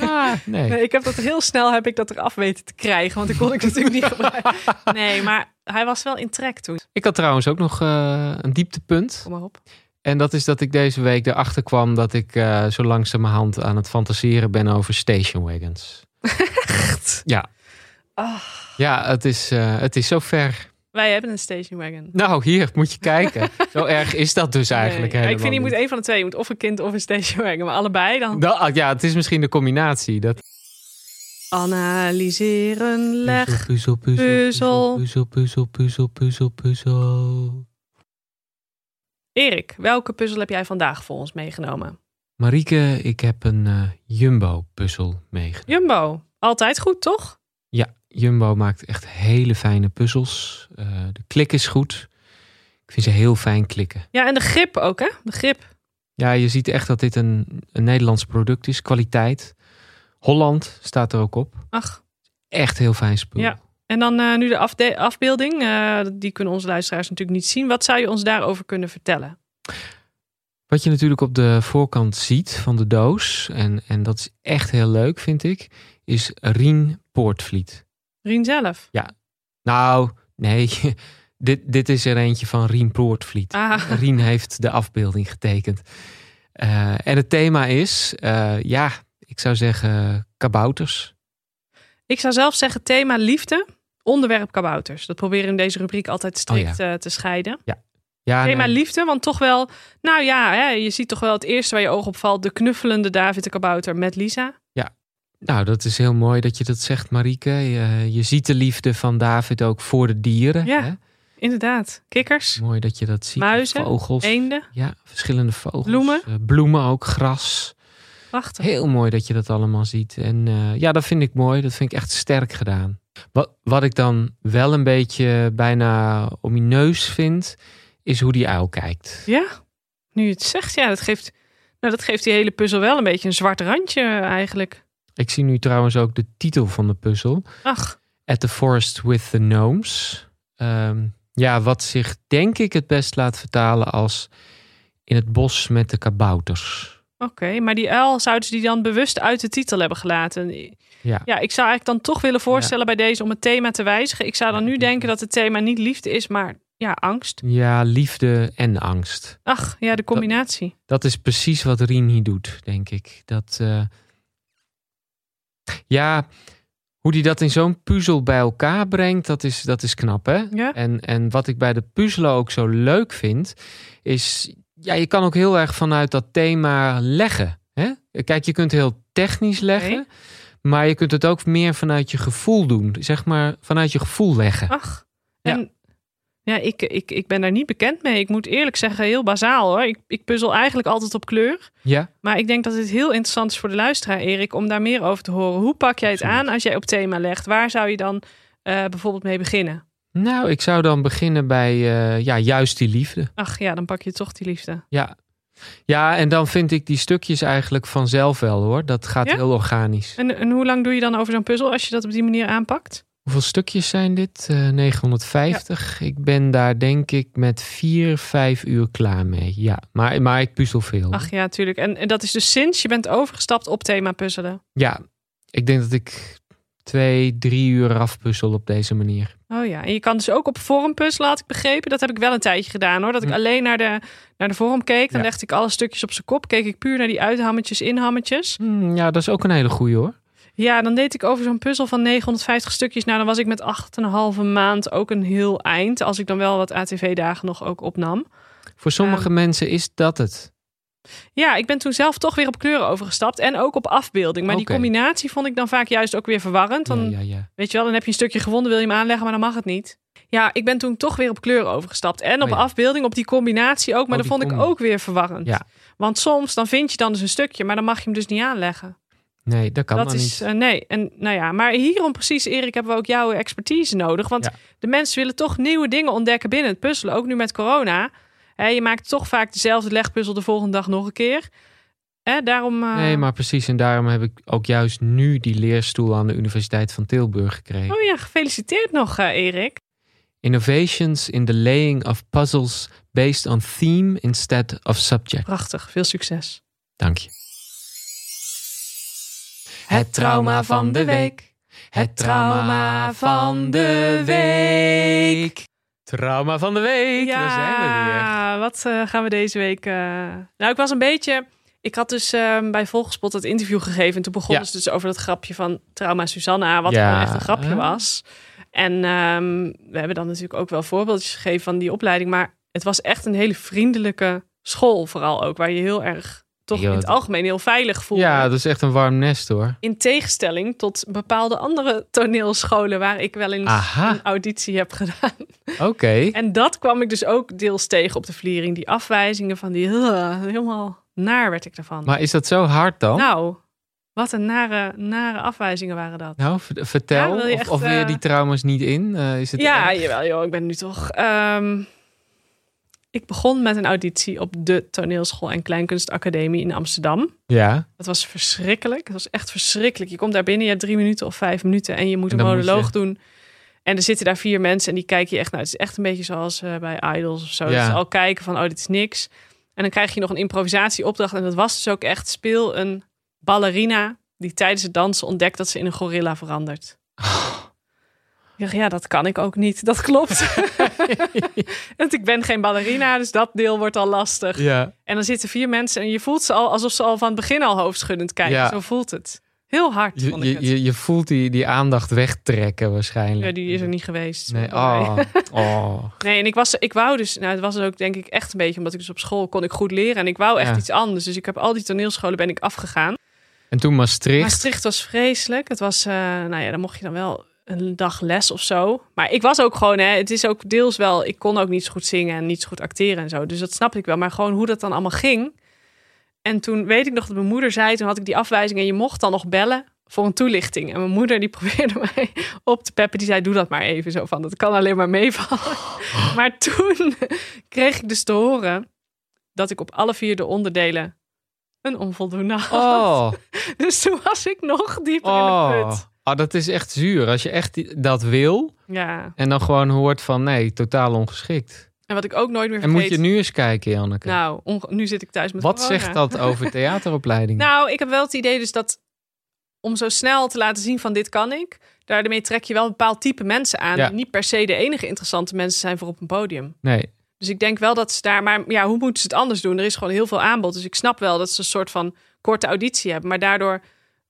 Speaker 1: Nee. Ah, nee.
Speaker 2: Nee, ik heb dat heel snel heb ik dat eraf weten te krijgen. Want ik kon ik natuurlijk niet gebruiken. Nee, maar hij was wel in trek toen.
Speaker 1: Ik had trouwens ook nog eh, een dieptepunt.
Speaker 2: Kom maar op.
Speaker 1: En dat is dat ik deze week erachter kwam dat ik eh zo langzamerhand aan het fantaseren ben over station wagons. Ja.
Speaker 2: Ah.
Speaker 1: Ja, het is, eh, het is zo ver.
Speaker 2: Wij hebben een station wagon.
Speaker 1: Nou, hier moet je kijken. zo erg is dat dus eigenlijk.
Speaker 2: Nee.
Speaker 1: helemaal
Speaker 2: Ik vind, je moet
Speaker 1: niet.
Speaker 2: één van de twee. Je moet of een kind of een station wagon. Maar allebei dan.
Speaker 1: Nou, ah, ja, het is misschien de combinatie. Dat...
Speaker 2: Analyseren, leg.
Speaker 1: Puzzel,
Speaker 2: Puzzel.
Speaker 1: Puzzel, puzzel, puzzel, puzzel, puzzel.
Speaker 2: Erik, welke puzzel heb jij vandaag voor ons meegenomen?
Speaker 1: Marieke, ik heb een eh, Jumbo-puzzel meegenomen.
Speaker 2: Jumbo, altijd goed toch?
Speaker 1: Ja, Jumbo maakt echt hele fijne puzzels. Eh, de klik is goed. Ik vind ze heel fijn klikken.
Speaker 2: Ja, en de grip ook hè? De grip.
Speaker 1: Ja, je ziet echt dat dit een, een Nederlands product is. Kwaliteit. Holland staat er ook op.
Speaker 2: Ach,
Speaker 1: Echt heel fijn spul.
Speaker 2: Ja. en dan eh, nu de afde- afbeelding. Eh, die kunnen onze luisteraars natuurlijk niet zien. Wat zou je ons daarover kunnen vertellen?
Speaker 1: Wat je natuurlijk op de voorkant ziet van de doos, en, en dat is echt heel leuk, vind ik, is Rien Poortvliet.
Speaker 2: Rien zelf.
Speaker 1: Nou, nee, dit, dit is er eentje van Rien Poortvliet.
Speaker 2: Ah,
Speaker 1: Rien heeft de afbeelding getekend. Eh, en het thema is, eh, ja, ik zou zeggen kabouters.
Speaker 2: ik zou zelf zeggen thema liefde, onderwerp kabouters. Dat proberen we in deze rubriek altijd strikt
Speaker 1: Oh
Speaker 2: eh, te scheiden.
Speaker 1: Ja,
Speaker 2: thema
Speaker 1: nee.
Speaker 2: liefde, want toch wel, nou ja, hè, je ziet toch wel het eerste waar je oog op valt. De knuffelende David de kabouter met Lisa.
Speaker 1: Nou, dat is heel mooi dat je dat zegt, Marieke. Je, je ziet de liefde van David ook voor de dieren.
Speaker 2: Ja.
Speaker 1: hè?
Speaker 2: Inderdaad, kikkers,
Speaker 1: Mooi dat je dat ziet.
Speaker 2: Muizen,
Speaker 1: vogels.
Speaker 2: eenden,
Speaker 1: Ja, verschillende vogels.
Speaker 2: Bloemen.
Speaker 1: Eh, bloemen ook, gras.
Speaker 2: prachtig.
Speaker 1: Heel mooi dat je dat allemaal ziet. En eh, ja, dat vind ik mooi. Dat vind ik echt sterk gedaan. Wat, wat ik dan wel een beetje bijna om je neus vind, is hoe die uil kijkt.
Speaker 2: Ja, nu je het zegt, ja, dat geeft, nou, dat geeft die hele puzzel wel een beetje een zwart randje eh, eigenlijk.
Speaker 1: Ik zie nu trouwens ook de titel van de puzzel.
Speaker 2: Ach,
Speaker 1: At the Forest with the Gnomes. Ehm, ja, wat zich denk ik het best laat vertalen als in het bos met de kabouters.
Speaker 2: oké, maar die L zouden ze die dan bewust uit de titel hebben gelaten.
Speaker 1: Ja.
Speaker 2: Ja, ik zou eigenlijk dan toch willen voorstellen bij deze om het thema te wijzigen. Ik zou dan
Speaker 1: Ja,
Speaker 2: nu
Speaker 1: ik-
Speaker 2: denken dat het thema niet liefde is, maar ja, angst.
Speaker 1: Ja, liefde en angst.
Speaker 2: Ach, ja, de combinatie.
Speaker 1: Dat is precies wat Rien hier doet, denk ik. Dat, eh, Ja, hoe die dat in zo'n puzzel bij elkaar brengt, dat is, dat is knap, hè?
Speaker 2: Ja,
Speaker 1: En, en wat ik bij de puzzelen ook zo leuk vind, is... Ja, je kan ook heel erg vanuit dat thema leggen. Hè? Kijk, je kunt heel technisch leggen,
Speaker 2: Oké.
Speaker 1: maar je kunt het ook meer vanuit je gevoel doen. Zeg maar vanuit je gevoel leggen.
Speaker 2: ach.
Speaker 1: Ja.
Speaker 2: En, ja, ik, ik, ik ben daar niet bekend mee. Ik moet eerlijk zeggen, heel bazaal hoor. Ik, ik puzzel eigenlijk altijd op kleur.
Speaker 1: Ja,
Speaker 2: Maar ik denk dat het heel interessant is voor de luisteraar, Erik, om daar meer over te horen. Hoe pak jij het
Speaker 1: Absoluut.
Speaker 2: aan als jij op thema legt? Waar zou je dan eh, bijvoorbeeld mee beginnen?
Speaker 1: nou, ik zou dan beginnen bij eh, ja, juist die liefde.
Speaker 2: Ach ja, dan pak je toch die liefde.
Speaker 1: Ja. ja, en dan vind ik die stukjes eigenlijk vanzelf wel hoor. Dat gaat
Speaker 2: Ja?
Speaker 1: heel organisch.
Speaker 2: En, en hoe lang doe je dan over zo'n puzzel als je dat op die manier aanpakt?
Speaker 1: Hoeveel stukjes zijn dit? Eh, 950. Ik ben daar denk ik met 4, 5 uur klaar mee. Ja, maar, maar ik puzzel veel.
Speaker 2: Ach ja, tuurlijk. En, en dat is dus sinds je bent overgestapt op thema puzzelen.
Speaker 1: Ja, ik denk dat ik twee, drie uur afpuzzel op deze manier.
Speaker 2: Oh ja, en je kan dus ook op vorm puzzelen, had ik begrepen. Dat heb ik wel een tijdje gedaan hoor. Dat ik
Speaker 1: Hm.
Speaker 2: alleen naar de, naar de vorm keek. Dan
Speaker 1: Ja.
Speaker 2: legde ik alle stukjes op zijn kop. Keek ik puur naar die uithammetjes, inhammetjes.
Speaker 1: Hmm, ja, dat is ook een hele goeie hoor.
Speaker 2: Ja, dan deed ik over zo'n puzzel van 950 stukjes. Nou, dan was ik met 8,5 maand ook een heel eind. Als ik dan wel wat ATV-dagen nog ook opnam.
Speaker 1: Voor sommige mensen is dat het.
Speaker 2: Ja, ik ben toen zelf toch weer op kleuren overgestapt en ook op afbeelding. Maar
Speaker 1: Oké.
Speaker 2: die combinatie vond ik dan vaak juist ook weer verwarrend. Dan,
Speaker 1: Ja, ja, ja.
Speaker 2: Weet je wel, dan heb je een stukje gewonnen, wil je hem aanleggen, maar dan mag het niet. Ja, ik ben toen toch weer op kleuren overgestapt. En op
Speaker 1: Oh ja.
Speaker 2: afbeelding, op die combinatie ook. Maar
Speaker 1: Oh, die
Speaker 2: dat vond
Speaker 1: combi.
Speaker 2: ik ook weer verwarrend.
Speaker 1: Ja.
Speaker 2: Want soms, dan vind je dan dus een stukje, maar dan mag je hem dus niet aanleggen.
Speaker 1: Nee, dat kan
Speaker 2: dat
Speaker 1: dan
Speaker 2: is,
Speaker 1: niet.
Speaker 2: eh, nee, en nou ja, maar hierom precies, Erik, hebben we ook jouw expertise nodig. Want
Speaker 1: Ja.
Speaker 2: de mensen willen toch nieuwe dingen ontdekken binnen het puzzelen. Ook nu met corona. Hè, je maakt toch vaak dezelfde legpuzzel de volgende dag nog een keer. Hè, daarom, eh,
Speaker 1: Nee, maar precies. En daarom heb ik ook juist nu die leerstoel aan de Universiteit van Tilburg gekregen.
Speaker 2: Oh ja, gefeliciteerd nog, eh, Erik.
Speaker 1: Innovations in the laying of puzzles based on theme instead of subject.
Speaker 2: Prachtig, veel succes.
Speaker 1: Dank je. Het trauma van de week. Het trauma van de week. Trauma van de week. Daar zijn we weer.
Speaker 2: wat eh, gaan we deze week... eh, Nou, ik was een beetje... Ik had dus ehm, bij Volgespot het interview gegeven. En toen begonnen
Speaker 1: Ja.
Speaker 2: ze dus over dat grapje van Trauma Susanna. Wat
Speaker 1: Ja.
Speaker 2: gewoon echt een grapje
Speaker 1: Ah.
Speaker 2: was. En ehm, we hebben dan natuurlijk ook wel voorbeeldjes gegeven van die opleiding. Maar het was echt een hele vriendelijke school vooral ook. Waar je heel erg, toch
Speaker 1: Heel
Speaker 2: in het
Speaker 1: het-
Speaker 2: algemeen, heel veilig voelde.
Speaker 1: Ja, dat is echt een warm nest hoor.
Speaker 2: In tegenstelling tot bepaalde andere toneelscholen... waar ik wel eens
Speaker 1: Aha,
Speaker 2: een auditie heb gedaan.
Speaker 1: oké.
Speaker 2: En dat kwam ik dus ook deels tegen op de vliering. Die afwijzingen van die... "Ugh," helemaal naar werd ik daarvan.
Speaker 1: Maar is dat zo hard dan?
Speaker 2: Nou, wat een nare, nare afwijzingen waren dat.
Speaker 1: Nou, v- vertel.
Speaker 2: Ja, wil je
Speaker 1: of,
Speaker 2: echt,
Speaker 1: of wil je
Speaker 2: eh,
Speaker 1: die trauma's niet in? Eh, is het
Speaker 2: Ja,
Speaker 1: erg?
Speaker 2: jawel joh, ik ben nu toch... ehm, ik begon met een auditie op de Toneelschool en Kleinkunstacademie in Amsterdam.
Speaker 1: ja.
Speaker 2: Dat was verschrikkelijk. Dat was echt verschrikkelijk. Je komt daar binnen, je hebt drie minuten of vijf minuten en je moet
Speaker 1: En
Speaker 2: een
Speaker 1: dan moet
Speaker 2: monoloog
Speaker 1: je-
Speaker 2: doen. En er zitten daar vier mensen en die kijken je echt naar. Het is echt een beetje zoals eh, bij Idols of zo.
Speaker 1: Ja.
Speaker 2: Dat ze al kijken van, oh, dit is niks. En dan krijg je nog een improvisatieopdracht. En dat was dus ook echt, speel een ballerina die tijdens het dansen ontdekt dat ze in een gorilla verandert.
Speaker 1: Oh.
Speaker 2: Ik dacht, ja, dat kan ik ook niet. Dat klopt. Want ik ben geen ballerina, dus dat deel wordt al lastig.
Speaker 1: ja.
Speaker 2: En dan zitten vier mensen en je voelt ze al alsof ze al van het begin al hoofdschuddend kijken.
Speaker 1: Ja.
Speaker 2: Zo voelt het. Heel hard,
Speaker 1: Je,
Speaker 2: vond ik
Speaker 1: je,
Speaker 2: het.
Speaker 1: je, je voelt die, die aandacht wegtrekken waarschijnlijk.
Speaker 2: Ja, die is er niet geweest.
Speaker 1: Nee,
Speaker 2: Bij mij.
Speaker 1: oh. oh.
Speaker 2: Nee, en ik, was, ik wou dus, nou, het was ook denk ik echt een beetje, omdat ik dus op school kon ik goed leren en ik wou echt
Speaker 1: Ja.
Speaker 2: iets anders. Dus ik heb al die toneelscholen ben ik afgegaan.
Speaker 1: En toen Maastricht.
Speaker 2: Maastricht was vreselijk. Het was, eh, nou ja, dan mocht je dan wel een dag les of zo. Maar ik was ook gewoon, hè, het is ook deels wel, ik kon ook niet zo goed zingen en niet zo goed acteren en zo. Dus dat snap ik wel. Maar gewoon hoe dat dan allemaal ging. En toen weet ik nog dat mijn moeder zei, toen had ik die afwijzing en je mocht dan nog bellen voor een toelichting. En mijn moeder die probeerde mij op te peppen. Die zei, doe dat maar even zo van, dat kan alleen maar meevallen. Maar toen kreeg ik dus te horen dat ik op alle vier de onderdelen een onvoldoende had.
Speaker 1: Oh.
Speaker 2: Dus toen was ik nog dieper in de
Speaker 1: Oh.
Speaker 2: put.
Speaker 1: oh, dat is echt zuur. Als je echt die- dat wil
Speaker 2: Ja.
Speaker 1: en dan gewoon hoort van nee, totaal ongeschikt.
Speaker 2: En wat ik ook nooit meer
Speaker 1: En
Speaker 2: vergeet...
Speaker 1: moet je nu eens kijken, Janneke.
Speaker 2: Nou, onge- nu zit ik thuis met
Speaker 1: Wat
Speaker 2: corona.
Speaker 1: zegt dat over theateropleidingen?
Speaker 2: Nou, ik heb wel het idee dus dat... om zo snel te laten zien van dit kan ik... daarmee trek je wel een bepaald type mensen aan...
Speaker 1: Ja.
Speaker 2: die niet per se de enige interessante mensen zijn voor op een podium.
Speaker 1: nee.
Speaker 2: Dus ik denk wel dat ze daar... Maar ja, hoe moeten ze het anders doen? Er is gewoon heel veel aanbod. Dus ik snap wel dat ze een soort van korte auditie hebben. Maar daardoor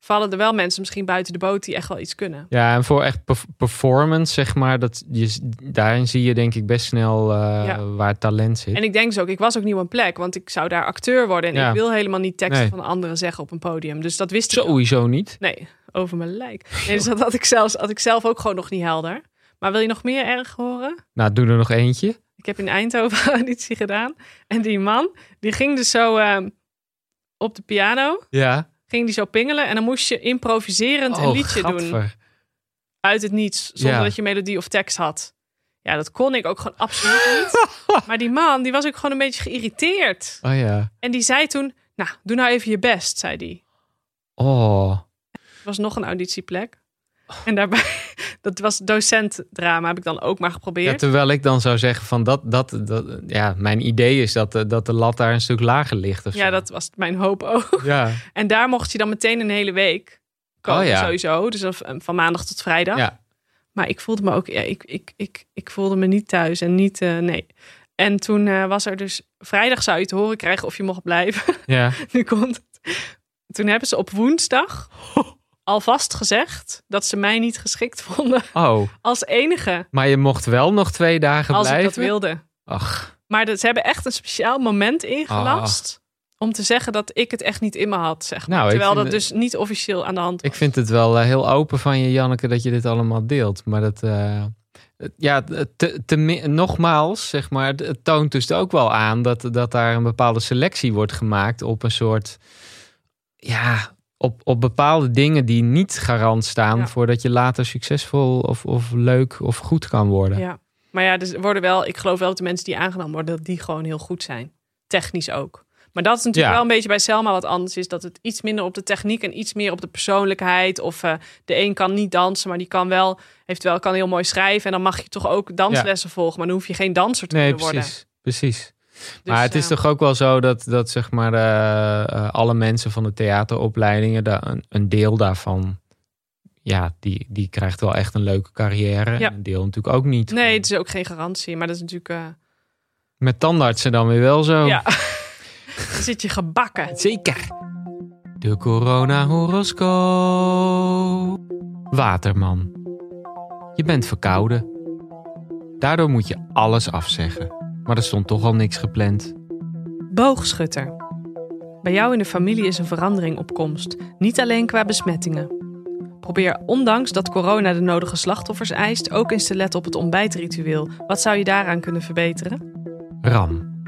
Speaker 2: vallen er wel mensen misschien buiten de boot... die echt wel iets kunnen.
Speaker 1: Ja, en voor echt perf- performance, zeg maar, dat je, daarin zie je denk ik best snel eh,
Speaker 2: Ja.
Speaker 1: waar talent zit.
Speaker 2: En ik denk dus ook, ik was ook nieuw aan plek, want ik zou daar acteur worden. En
Speaker 1: Ja.
Speaker 2: ik wil helemaal niet teksten
Speaker 1: Nee.
Speaker 2: van anderen zeggen op een podium. Dus dat wist ik. ook.
Speaker 1: Sowieso niet.
Speaker 2: Nee, over mijn lijk. Nee, dus dat had ik, zelfs, had ik zelf ook gewoon nog niet helder. Maar wil je nog meer erg horen?
Speaker 1: Nou, doe er nog eentje.
Speaker 2: Ik heb in Eindhoven auditie gedaan. En die man, die ging dus zo ehm, op de piano,
Speaker 1: Ja.
Speaker 2: ging die zo pingelen. En dan moest je improviserend een liedje doen.
Speaker 1: Oh, gadver.
Speaker 2: uit het niets, zonder
Speaker 1: Ja.
Speaker 2: dat je melodie of tekst had. Ja, dat kon ik ook gewoon absoluut niet. Maar die man, die was ook gewoon een beetje geïrriteerd.
Speaker 1: Oh ja.
Speaker 2: En die zei toen, nou, doe nou even je best, zei die.
Speaker 1: Oh.
Speaker 2: Er was nog een auditieplek. En daarbij, dat was docentdrama, heb ik dan ook maar
Speaker 1: Ja,
Speaker 2: geprobeerd.
Speaker 1: terwijl ik dan zou zeggen van dat, dat, dat ja, mijn idee is dat, de- dat de lat daar een stuk lager ligt of
Speaker 2: Ja,
Speaker 1: zo.
Speaker 2: dat was mijn hoop ook.
Speaker 1: Ja,
Speaker 2: En daar mocht je dan meteen een hele week komen
Speaker 1: Oh ja.
Speaker 2: sowieso. Dus dan v- van maandag tot vrijdag.
Speaker 1: ja.
Speaker 2: Maar ik voelde me ook, ja, ik, ik, ik, ik voelde me niet thuis en niet, eh, nee. En toen eh, was er dus, vrijdag zou je te horen krijgen of je mocht blijven.
Speaker 1: ja.
Speaker 2: nu komt het. Toen hebben ze op woensdag alvast gezegd dat ze mij niet geschikt vonden
Speaker 1: Oh,
Speaker 2: als enige.
Speaker 1: maar je mocht wel nog twee dagen
Speaker 2: Als ik
Speaker 1: blijven?
Speaker 2: dat wilde.
Speaker 1: Ach,
Speaker 2: Maar dat, ze hebben echt een speciaal moment ingelast om te zeggen dat ik het echt niet in me had, zeg maar.
Speaker 1: Ah. Nou, ik
Speaker 2: Terwijl dat
Speaker 1: vind
Speaker 2: dus niet officieel aan de hand
Speaker 1: Ik vind het wel eh, heel open van je, Janneke, dat je dit allemaal deelt. Maar dat. eh, het- ja, het- te, te, mi- nogmaals, zeg maar. Het het toont dus ook wel aan dat, dat daar een bepaalde selectie wordt gemaakt op een soort. Ja. Op, op bepaalde dingen die niet garant staan
Speaker 2: Ja.
Speaker 1: voordat je later succesvol of, of leuk of goed kan worden.
Speaker 2: Ja. Maar ja, dus worden wel, ik geloof wel dat de mensen die aangenomen worden, dat die gewoon heel goed zijn. Technisch ook. Maar dat is natuurlijk
Speaker 1: Ja.
Speaker 2: wel een beetje bij Selma wat anders is. Dat het iets minder op de techniek en iets meer op de persoonlijkheid. Of eh, de een kan niet dansen, maar die kan wel, heeft wel, kan heel mooi schrijven. En dan mag je toch ook danslessen volgen. Maar dan hoef je geen danser te
Speaker 1: Nee,
Speaker 2: kunnen worden.
Speaker 1: precies. Precies.
Speaker 2: Dus,
Speaker 1: maar het is
Speaker 2: eh,
Speaker 1: toch ook wel zo dat, dat zeg maar, eh, eh, alle mensen van de theateropleidingen, daar een, een deel daarvan, ja, die, die krijgt wel echt een leuke carrière.
Speaker 2: Ja.
Speaker 1: En een deel natuurlijk ook niet.
Speaker 2: Nee, het is ook geen garantie. Maar dat is natuurlijk. eh,
Speaker 1: Met tandartsen dan weer wel zo.
Speaker 2: Ja. dan zit je gebakken.
Speaker 1: Zeker. De corona horoscoop. Waterman. Je bent verkouden. Daardoor moet je alles afzeggen. Maar er stond toch al niks gepland.
Speaker 2: Boogschutter. Bij jou in de familie is een verandering op komst, niet alleen qua besmettingen. Probeer, ondanks dat corona de nodige slachtoffers eist, ook eens te letten op het ontbijtritueel. Wat zou je daaraan kunnen verbeteren?
Speaker 1: Ram.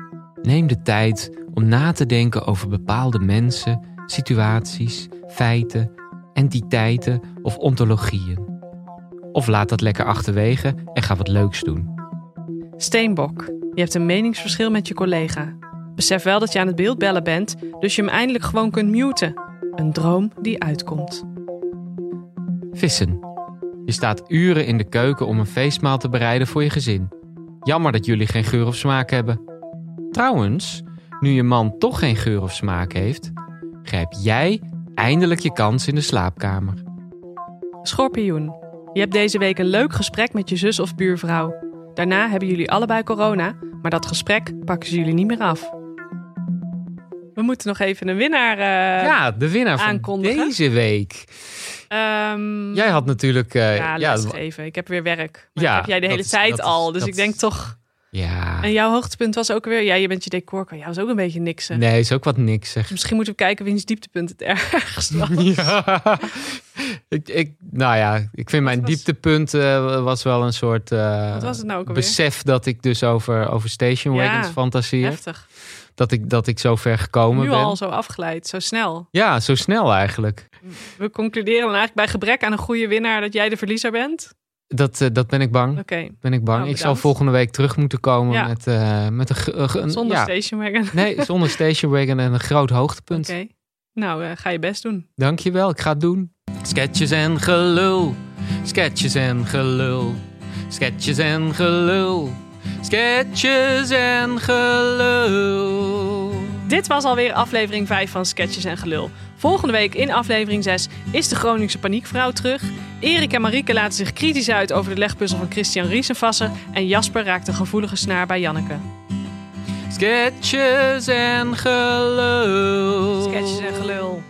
Speaker 1: Neem de tijd om na te denken over bepaalde mensen, situaties, feiten, entiteiten of ontologieën. Of laat dat lekker achterwege en ga wat leuks doen.
Speaker 2: Steenbok, je hebt een meningsverschil met je collega. Besef wel dat je aan het beeldbellen bent, dus je hem eindelijk gewoon kunt muten. Een droom die uitkomt.
Speaker 1: Vissen. Je staat uren in de keuken om een feestmaal te bereiden voor je gezin. Jammer dat jullie geen geur of smaak hebben. Trouwens, nu je man toch geen geur of smaak heeft, grijp jij eindelijk je kans in de slaapkamer.
Speaker 2: Schorpioen, je hebt deze week een leuk gesprek met je zus of buurvrouw. Daarna hebben jullie allebei corona, maar dat gesprek pakken ze jullie niet meer af. We moeten nog even een winnaar. eh,
Speaker 1: ja, de winnaar van
Speaker 2: aankondigen.
Speaker 1: deze week.
Speaker 2: ehm,
Speaker 1: Jij had natuurlijk. eh,
Speaker 2: ja,
Speaker 1: ja,
Speaker 2: lesgeven. Ik heb weer werk. Maar
Speaker 1: Ja,
Speaker 2: dat heb jij de hele
Speaker 1: dat is-
Speaker 2: tijd
Speaker 1: dat is-
Speaker 2: al. Dus
Speaker 1: dat
Speaker 2: ik denk
Speaker 1: is-
Speaker 2: toch.
Speaker 1: ja.
Speaker 2: En jouw hoogtepunt was ook weer. Ja, je bent je decor. Jou is ook een beetje niks. hè?
Speaker 1: Nee, is ook wat niks zeg.
Speaker 2: Misschien moeten we kijken wiens dieptepunt het ergst was.
Speaker 1: Ja. ik, ik, nou ja, ik vind mijn
Speaker 2: was-
Speaker 1: dieptepunt eh, was wel een soort eh,
Speaker 2: Wat was het nou ook alweer?
Speaker 1: besef dat ik dus over, over Station
Speaker 2: Ja.
Speaker 1: Wagons fantaseer.
Speaker 2: Heftig.
Speaker 1: Dat ik, dat ik zo ver gekomen
Speaker 2: Nu
Speaker 1: ben.
Speaker 2: al zo afgeleid, zo snel.
Speaker 1: Ja, zo snel eigenlijk.
Speaker 2: We concluderen dan eigenlijk bij gebrek aan een goede winnaar dat jij de verliezer bent.
Speaker 1: Dat, eh, dat ben ik bang.
Speaker 2: Oké,
Speaker 1: Ben ik bang.
Speaker 2: Nou,
Speaker 1: ik zal
Speaker 2: bedankt.
Speaker 1: volgende week terug moeten komen
Speaker 2: Ja.
Speaker 1: met, eh, met een, gr- een-
Speaker 2: zonder
Speaker 1: ja.
Speaker 2: station wagon.
Speaker 1: Nee, zonder Station Wagon en een groot hoogtepunt.
Speaker 2: Oké. Nou, eh, ga je best doen.
Speaker 1: Dankjewel, ik ga het doen. Sketches en gelul, sketches en gelul, sketches en gelul, sketches en gelul.
Speaker 2: Dit was alweer aflevering 5 van Sketches en Gelul. Volgende week in aflevering 6 is de Groningse paniekvrouw terug. Erik en Marieke laten zich kritisch uit over de legpuzzel van Christian Riesenvasser. En Jasper raakt een gevoelige snaar bij Janneke.
Speaker 1: Sketches en gelul.
Speaker 2: Sketches en Gelul.